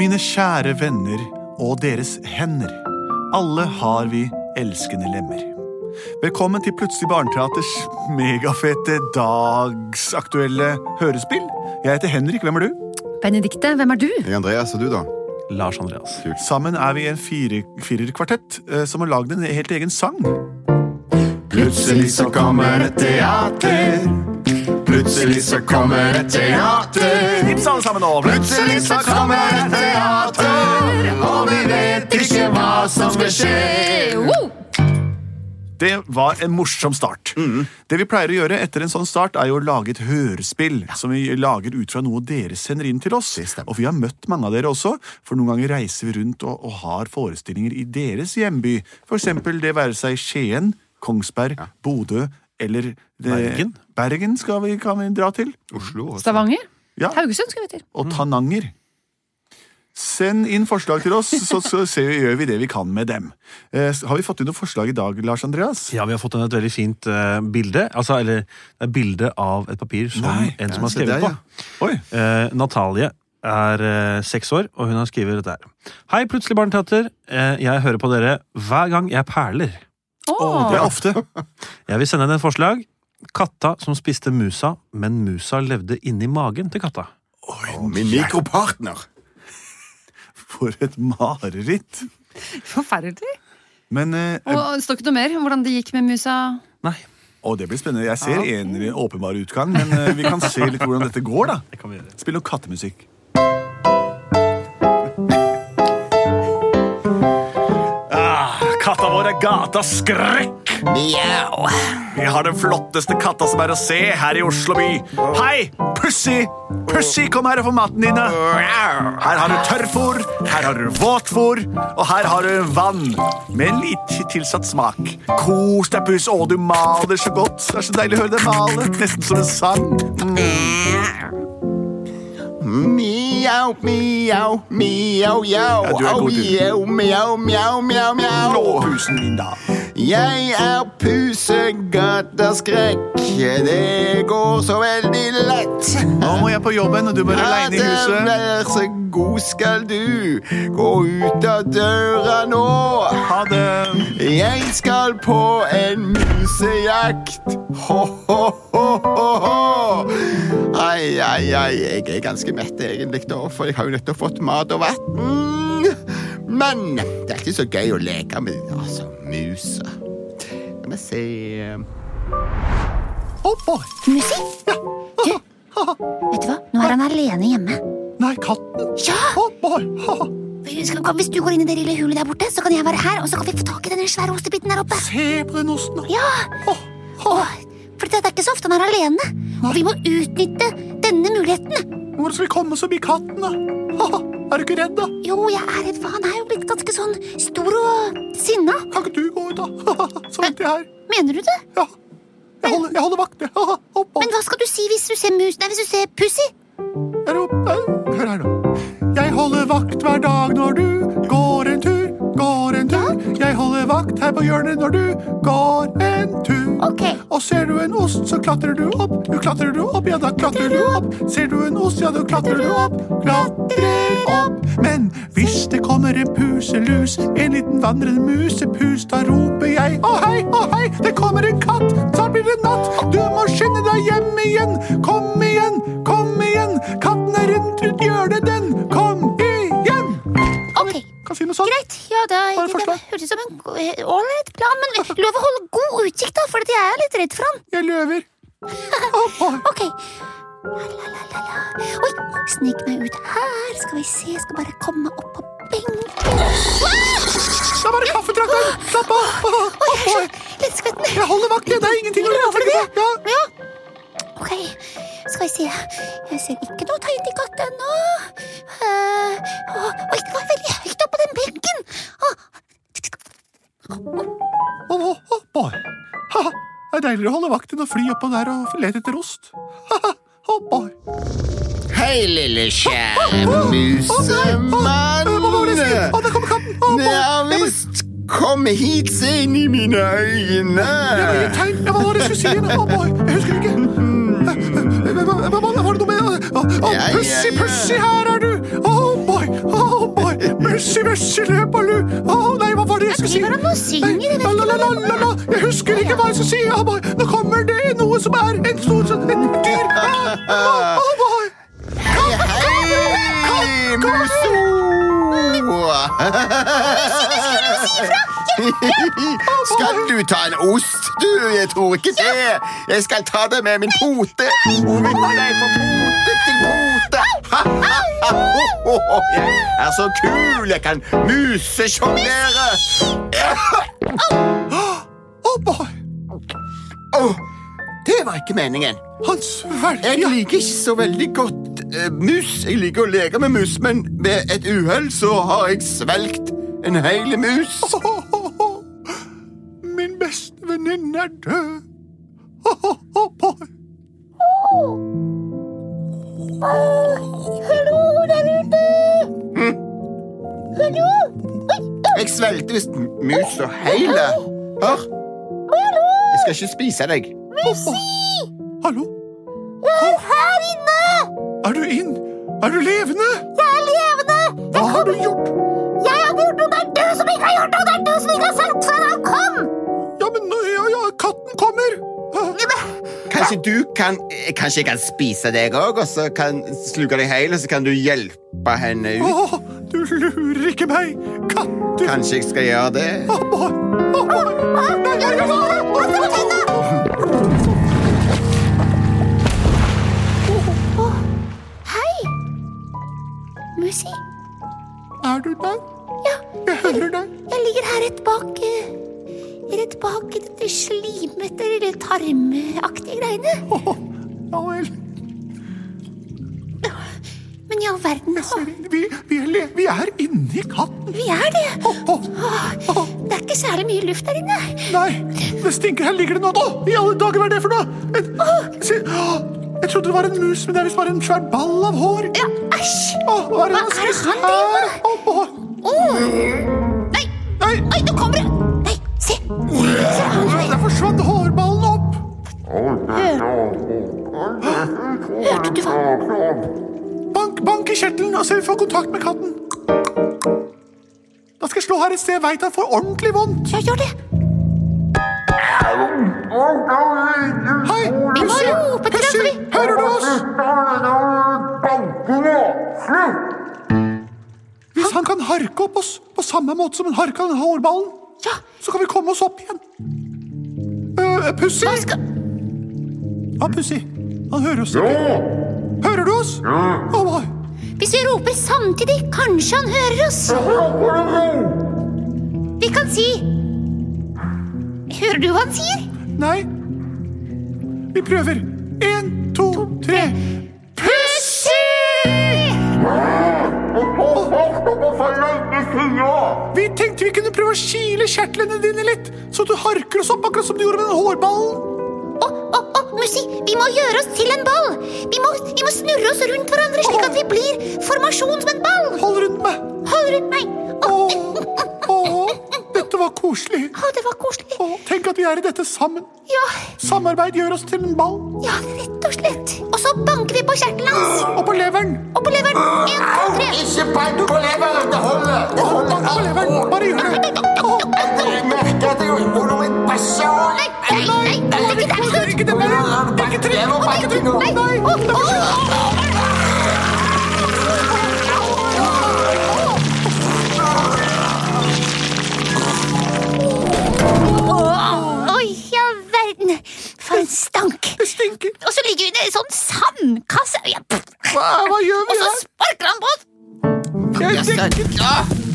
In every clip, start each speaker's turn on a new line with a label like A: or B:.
A: Mine kjære venner og deres hender. Alle har vi elskende lemmer. Velkommen til Plutselig barneteaters megafete dagsaktuelle hørespill. Jeg heter Henrik. Hvem er du?
B: Benedikte, hvem er du?
C: Hei, Andreas, og du da?
D: Lars Andreas.
A: Sammen er vi en fire- firerkvartett eh, som har lagd en helt egen sang.
C: Plutselig så kommer et teater. Plutselig så kommer et teater.
A: Knips alle sammen over.
C: Plutselig så kommer et teater, og vi vet ikke hva som skal skje.
B: Wow!
A: Det var en morsom start.
D: Mm.
A: Det vi pleier å gjøre etter en sånn start, er jo å lage et hørespill som vi lager ut fra noe dere sender inn til oss. Og vi har møtt mange av dere også, for noen ganger reiser vi rundt og, og har forestillinger i deres hjemby. For eksempel det være seg Skien, Kongsberg, Bodø eller eh,
D: Bergen.
A: Bergen skal vi, kan vi dra til.
C: Oslo altså. også.
B: Stavanger?
A: Ja.
B: Haugesund skal vi til.
D: Mm.
A: og Tananger. Send inn forslag til oss, så, så ser vi, gjør vi det vi kan med dem. Eh, har vi fått inn noen forslag i dag, Lars Andreas?
D: Ja, vi har fått inn et veldig fint eh, bilde. Altså, eller det er bilde av et papir som
A: Nei,
D: en
C: ja,
D: som
C: se
D: har skrevet
C: der,
D: på.
C: ja.
A: Oi,
D: Eh, Natalie er eh, seks år, og hun har skrevet dette her. Hei, plutselig barneteater. Eh, jeg hører på dere hver gang jeg perler.
A: det er
B: Åh,
A: ofte.
D: Jeg vil sende henne et forslag. Katta som spiste musa, men musa levde inni magen til katta.
C: Og Min mikropartner.
A: For et mareritt.
B: Forferdelig.
A: Men eh,
B: Og det står ikke noe mer om hvordan det gikk med musa.
D: Nei,
A: Å, det blir spennende. Jeg ser en åpenbar utgang, men eh, vi kan se litt hvordan dette går, da.
D: det kan vi gjøre.
A: Spill noe kattemusikk. Ah, katta vår er gatas skrekk! Vi har den flotteste katta som er å se her i Oslo by. Hei, Pussy! Pussy, kom her og få maten dine. Her har du tørrfôr, her har du våtfôr, og her har du vann. Med litt tilsatt smak. Kos deg, Puss. Å, du maler så godt. Det er så deilig å høre deg male. Nesten som en sang. Mm.
C: Miau, miau, miau, jau.
A: Ja, du er
C: Au,
A: god, du.
C: jau, miau, miau, miau, miau.
A: Nå, husen min, da.
C: Jeg er pusegataskrekk. Det går så veldig lett.
A: Nå må jeg på jobben, og du blir aleine i huset.
C: Vær så god skal du gå ut av døra nå.
A: Ha det.
C: Jeg skal på en musejakt. Ho-ho-ho-ho. Ai, ai, ai. Jeg er ganske mett egentlig, da, for jeg har jo nettopp fått mat og vann. Men det er ikke så gøy å leke med altså, musa. Skal vi se
A: Opp, opp.
E: Musikk? Du, vet du hva? Nå er han alene hjemme.
A: Nei, katten.
E: Ja!
A: Opp, opp. Ha.
E: Skal- kan- Hvis du går inn i det lille hulet der borte, så kan jeg være her, og så kan vi få tak i den svære ostebiten der oppe.
A: Se på den osten. da.
E: Ja! Åh, for det er ikke så ofte han er alene. Og vi må utnytte denne muligheten.
A: Hvordan skal vi komme oss forbi katten, da? Ha. Er du ikke redd, da?
E: Jo, jeg er redd for han er jo blitt ganske sånn stor og sinna.
A: Kan ikke du gå ut, da? Ha. Så venter jeg her.
E: Mener du det?
A: Ja. Jeg holder, jeg holder vakt. jeg. Ha. Opp, opp.
E: Men hva skal du si hvis du ser mus... Nei, hvis du ser Pussy?
A: Er du opp? Au. Hør her, nå. Jeg holder vakt hver dag når du går en tur. Går en tur. Jeg holder vakt her på hjørnet når du går en tur.
E: Ok.
A: Og ser du en ost, så klatrer du opp. Du klatrer du opp, ja da klatrer du opp. Ser du en ost, ja da klatrer du opp. Klatrer opp. Men hvis det kommer en puselus, en liten vandrende musepus, da roper jeg å hei, å hei, det kommer en katt, så blir det natt. Du må skynde deg hjem igjen. Kom igjen, kom igjen. Katten er rundt rundt hjørnet, den. Kom igjen.
E: Ok.
A: Kan si noe sånt.
E: Greit. Ja, da,
A: Bare
E: det
A: forslag.
E: hørtes ut som en eh, ålreit plan, men lov å holde god utkikk, da, for at jeg er litt redd for han.
A: Jeg løver. Opp, opp.
E: Ok. La-la-la-la-la. Oi, snik meg ut her. Skal vi se, jeg skal bare komme meg opp på benken.
A: Da var det kaffetrakteren. Slapp av. Opp,
E: Oi, jeg er så
A: opp.
E: litt svetten.
A: Jeg holder vakt, jeg. Det er ingenting å
E: Lover du
A: tenke på. Ja.
E: Ja. Ok, skal vi se. Jeg ser ikke noe tegn til katt ennå. Eh, å, oi, det var veldig høyt oppå den benken. Å,
A: Å, å, å, boy. Ha, ha. det er deiligere å holde vakt enn å fly oppå der og lete etter ost. Ha, ha. Å, boy.
C: Hei, lille kjære
A: Å, hva var det jeg skulle- å,
C: musemann.
A: der kommer katten! Å, boy.
C: Ja visst, kom hit, se inn i mine øyne.
A: Det var ingen tegn. Ja, Hva var det jeg skulle si igjen? Å, boy. Jeg husker ikke. Hva- hva- hva- Var det noe med Å, å,
C: Ja, ja,
A: Pussy,
C: ja.
A: pussy, her er du! Å, Oh boy. Å, Mussi, mussi, løpalu. Å nei, hva var det jeg skulle si?
E: Driver han og synger?
A: Nei,
E: Jeg vet
A: la, la,
E: ikke
A: la,
E: hva
A: la, la. Jeg husker ikke hva jeg skulle si. Han bare, Nå kommer det noe som er en stor sånn en dyr Å, å, å, hva-
C: Hei, Musso! Skal du ta en ost? Du, jeg tror ikke det. Jeg skal ta det med min pote. Hun vil ha deg fra pote til pote. Ha, ha, ha, ho, ho, ho. Jeg er så kul. Jeg kan musesjonglere.
A: Å, boy.
C: Åh, det var ikke meningen.
A: Han svelger.
C: Jeg liker ikke så veldig godt eh, mus. Jeg liker å leke med mus, men ved et uhell så har jeg svelgt en hel mus.
A: Å, å, å. Min beste venninne er død. Å, å, å, boy.
E: Hallo der ute! Hallo?
C: Jeg svelgte visst mus og hele. Hør. Jeg skal ikke spise deg.
A: Hallo?
E: Jeg er her inne!
A: Er du inn? Er du levende?
E: Jeg er levende!
A: Hva har du gjort?
E: Jeg hadde gjort noe, det er du som ikke har gjort noe! Det er du som ikke har sagt før han kom!
A: Ja, men nå- ja, ja, katten kommer!
C: Kanskje du kan eh, Kanskje jeg kan spise deg òg, og så kan sluke deg hel, og så kan du hjelpe henne ut?
A: Åh, du lurer ikke meg! Katter!
C: Kanskje jeg skal gjøre det?
A: Åh, boy. Åh, boy. Nei, nei, nei, nei.
E: Hei! Musi,
A: Er du der?
E: ja,
A: Jeg hører deg.
E: jeg ligger her rett bak eh, Rett bak dette slimete, eller tarmaktige greiene.
A: Åh, ja vel.
E: Men i all verden,
A: Ser du, Vi, vi, er, le- vi er inni katten.
E: vi er det!
A: Åh, åh,
E: Åh, Det er ikke særlig mye luft der inne.
A: nei, det stinker. Her ligger det noe. Åh, i alle dager, hva er det for noe? En, se, åh, jeg trodde det var en mus, men det er visst bare en svær ball av hår.
E: Ja, æsj!
A: Åh, hva er det han
E: Hva er det
A: spiser
E: han
A: her?
E: driver med?
A: Åh, åh,
E: Åh. Nei!
A: nei,
E: Oi, nå kommer det! Nei, se! Se han
A: åh,
E: der.
A: der forsvant hårballen opp.
E: Hørte du hva?
A: Bank, bank i kjertelen og se om vi får kontakt med katten. Da skal jeg slå her et sted jeg veit han får ordentlig vondt.
E: Ja, gjør det!
A: Hei, Pussy!
E: rope til
A: Pussy,
E: deg, fordi-
A: hører du oss? Hvis han kan harke opp oss på samme måte som han harka den hårballen,
E: Ja,
A: så kan vi komme oss opp igjen. Øh, Pussy?
E: hva skal
A: Ja, Pussy. Han hører oss ikke. Hører du oss? Å, nei.
E: Hvis vi roper samtidig, kanskje han hører oss. Vi kan si Hører du hva han sier?
A: Nei. Vi prøver. Én, to, tre. Pussy! Vi tenkte vi kunne prøve å kile kjertlene dine litt, så du harker oss opp akkurat som du gjorde med den hårballen.
E: Å, å, å, Mussi, vi må gjøre oss til en ball. Vi må, vi må snurre oss rundt hverandre slik at vi blir formasjon som en ball.
A: Hold rundt meg.
E: Hold rundt meg. Å,
A: Åh, åh, dette var koselig.
E: å, det var koselig.
A: Åh, tenk at vi er i dette sammen.
E: Ja,
A: Samarbeid gjør oss til en ball.
E: ja, rett og slett. Og så banker vi på kjertelen hans.
A: Og på leveren.
E: Og på leveren. En, to, tre.
F: Ikke bank på leveren! Det holder! Det
A: Åh,
F: holder.
A: bank på leveren. Bare gjør det. Åh,
F: Jeg merker det jo når jeg bæsjer.
E: Nei, nei, nei, nei, ikke der.
A: det er ikke det, Marion. Det er ikke tre.
F: Jeg må
A: Det er ikke
F: banke
A: tre.
F: nå.
A: Nei, nei. Det er ikke-
E: Oi, ja verden. For en stank.
A: Det stinker.
E: Og så ligger vi i en sånn sandkasse. Ja, pff.
A: Hva, hva gjør
E: Og
A: vi
E: så
A: her?
E: sparker han på oss.
A: Jeg er dekket,
C: Ja,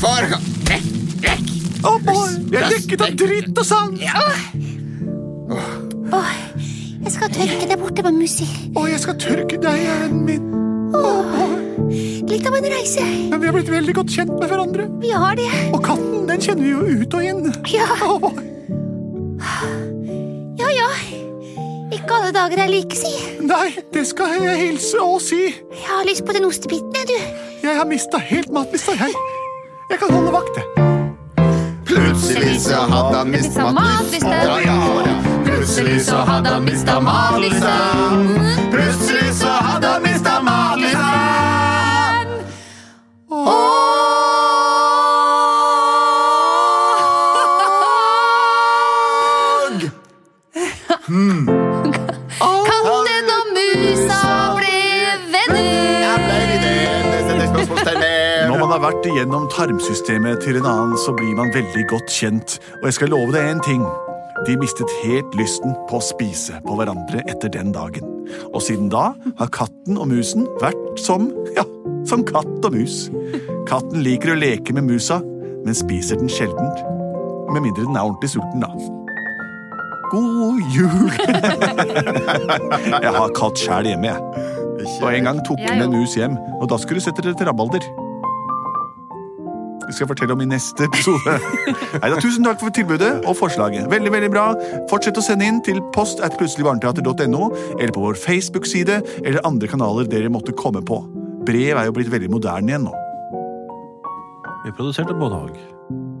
C: for Vekk, vekk!
A: Åh, boy. jeg er dekket av dritt og sand.
E: Åh, jeg skal tørke det borte med Mussi.
A: Og jeg skal tørke deg i øynene mine. Åh, boy.
E: Litt av en reise.
A: Men vi har blitt veldig godt kjent med hverandre.
E: Vi har det.
A: Og katten, den kjenner vi jo ut og inn.
E: Ja.
A: Åh, boy.
E: Ja, ja. Ikke alle dager er like, si.
A: Nei, det skal jeg hilse og si.
E: Jeg har lyst på den ostebiten, jeg, du.
A: Jeg har mista helt matlista, jeg. Jeg kan holde vakt, jeg.
C: Plutselig så hadde han mistet
B: Mistet
C: matlista.
B: matlista.
C: Ja, ja, ja. Plutselig så hadde han mistet matlista. Plutselig så hadde han mistet matlista. Åh! Hmm.
A: har vært igjennom tarmsystemet til en annen, så blir man veldig godt kjent. Og jeg skal love deg en ting. De mistet helt lysten på å spise på hverandre etter den dagen. Og siden da har katten og musen vært som ja, som katt og mus. Katten liker å leke med musa, men spiser den sjelden. Med mindre den er ordentlig sulten, da. God jul! jeg har katt sjæl hjemme, jeg. Og en gang tok hun
B: Jeg
A: en
B: jo.
A: mus hjem, og da skulle du sette dere til rabalder. Det skal jeg fortelle om i neste episode. Neida, tusen takk for tilbudet og forslaget. Veldig, veldig bra. Fortsett å sende inn til post at plutseligbarneteater.no, eller på vår Facebook-side, eller andre kanaler dere måtte komme på. Brev er jo blitt veldig moderne igjen nå.
D: Vi produserte både og.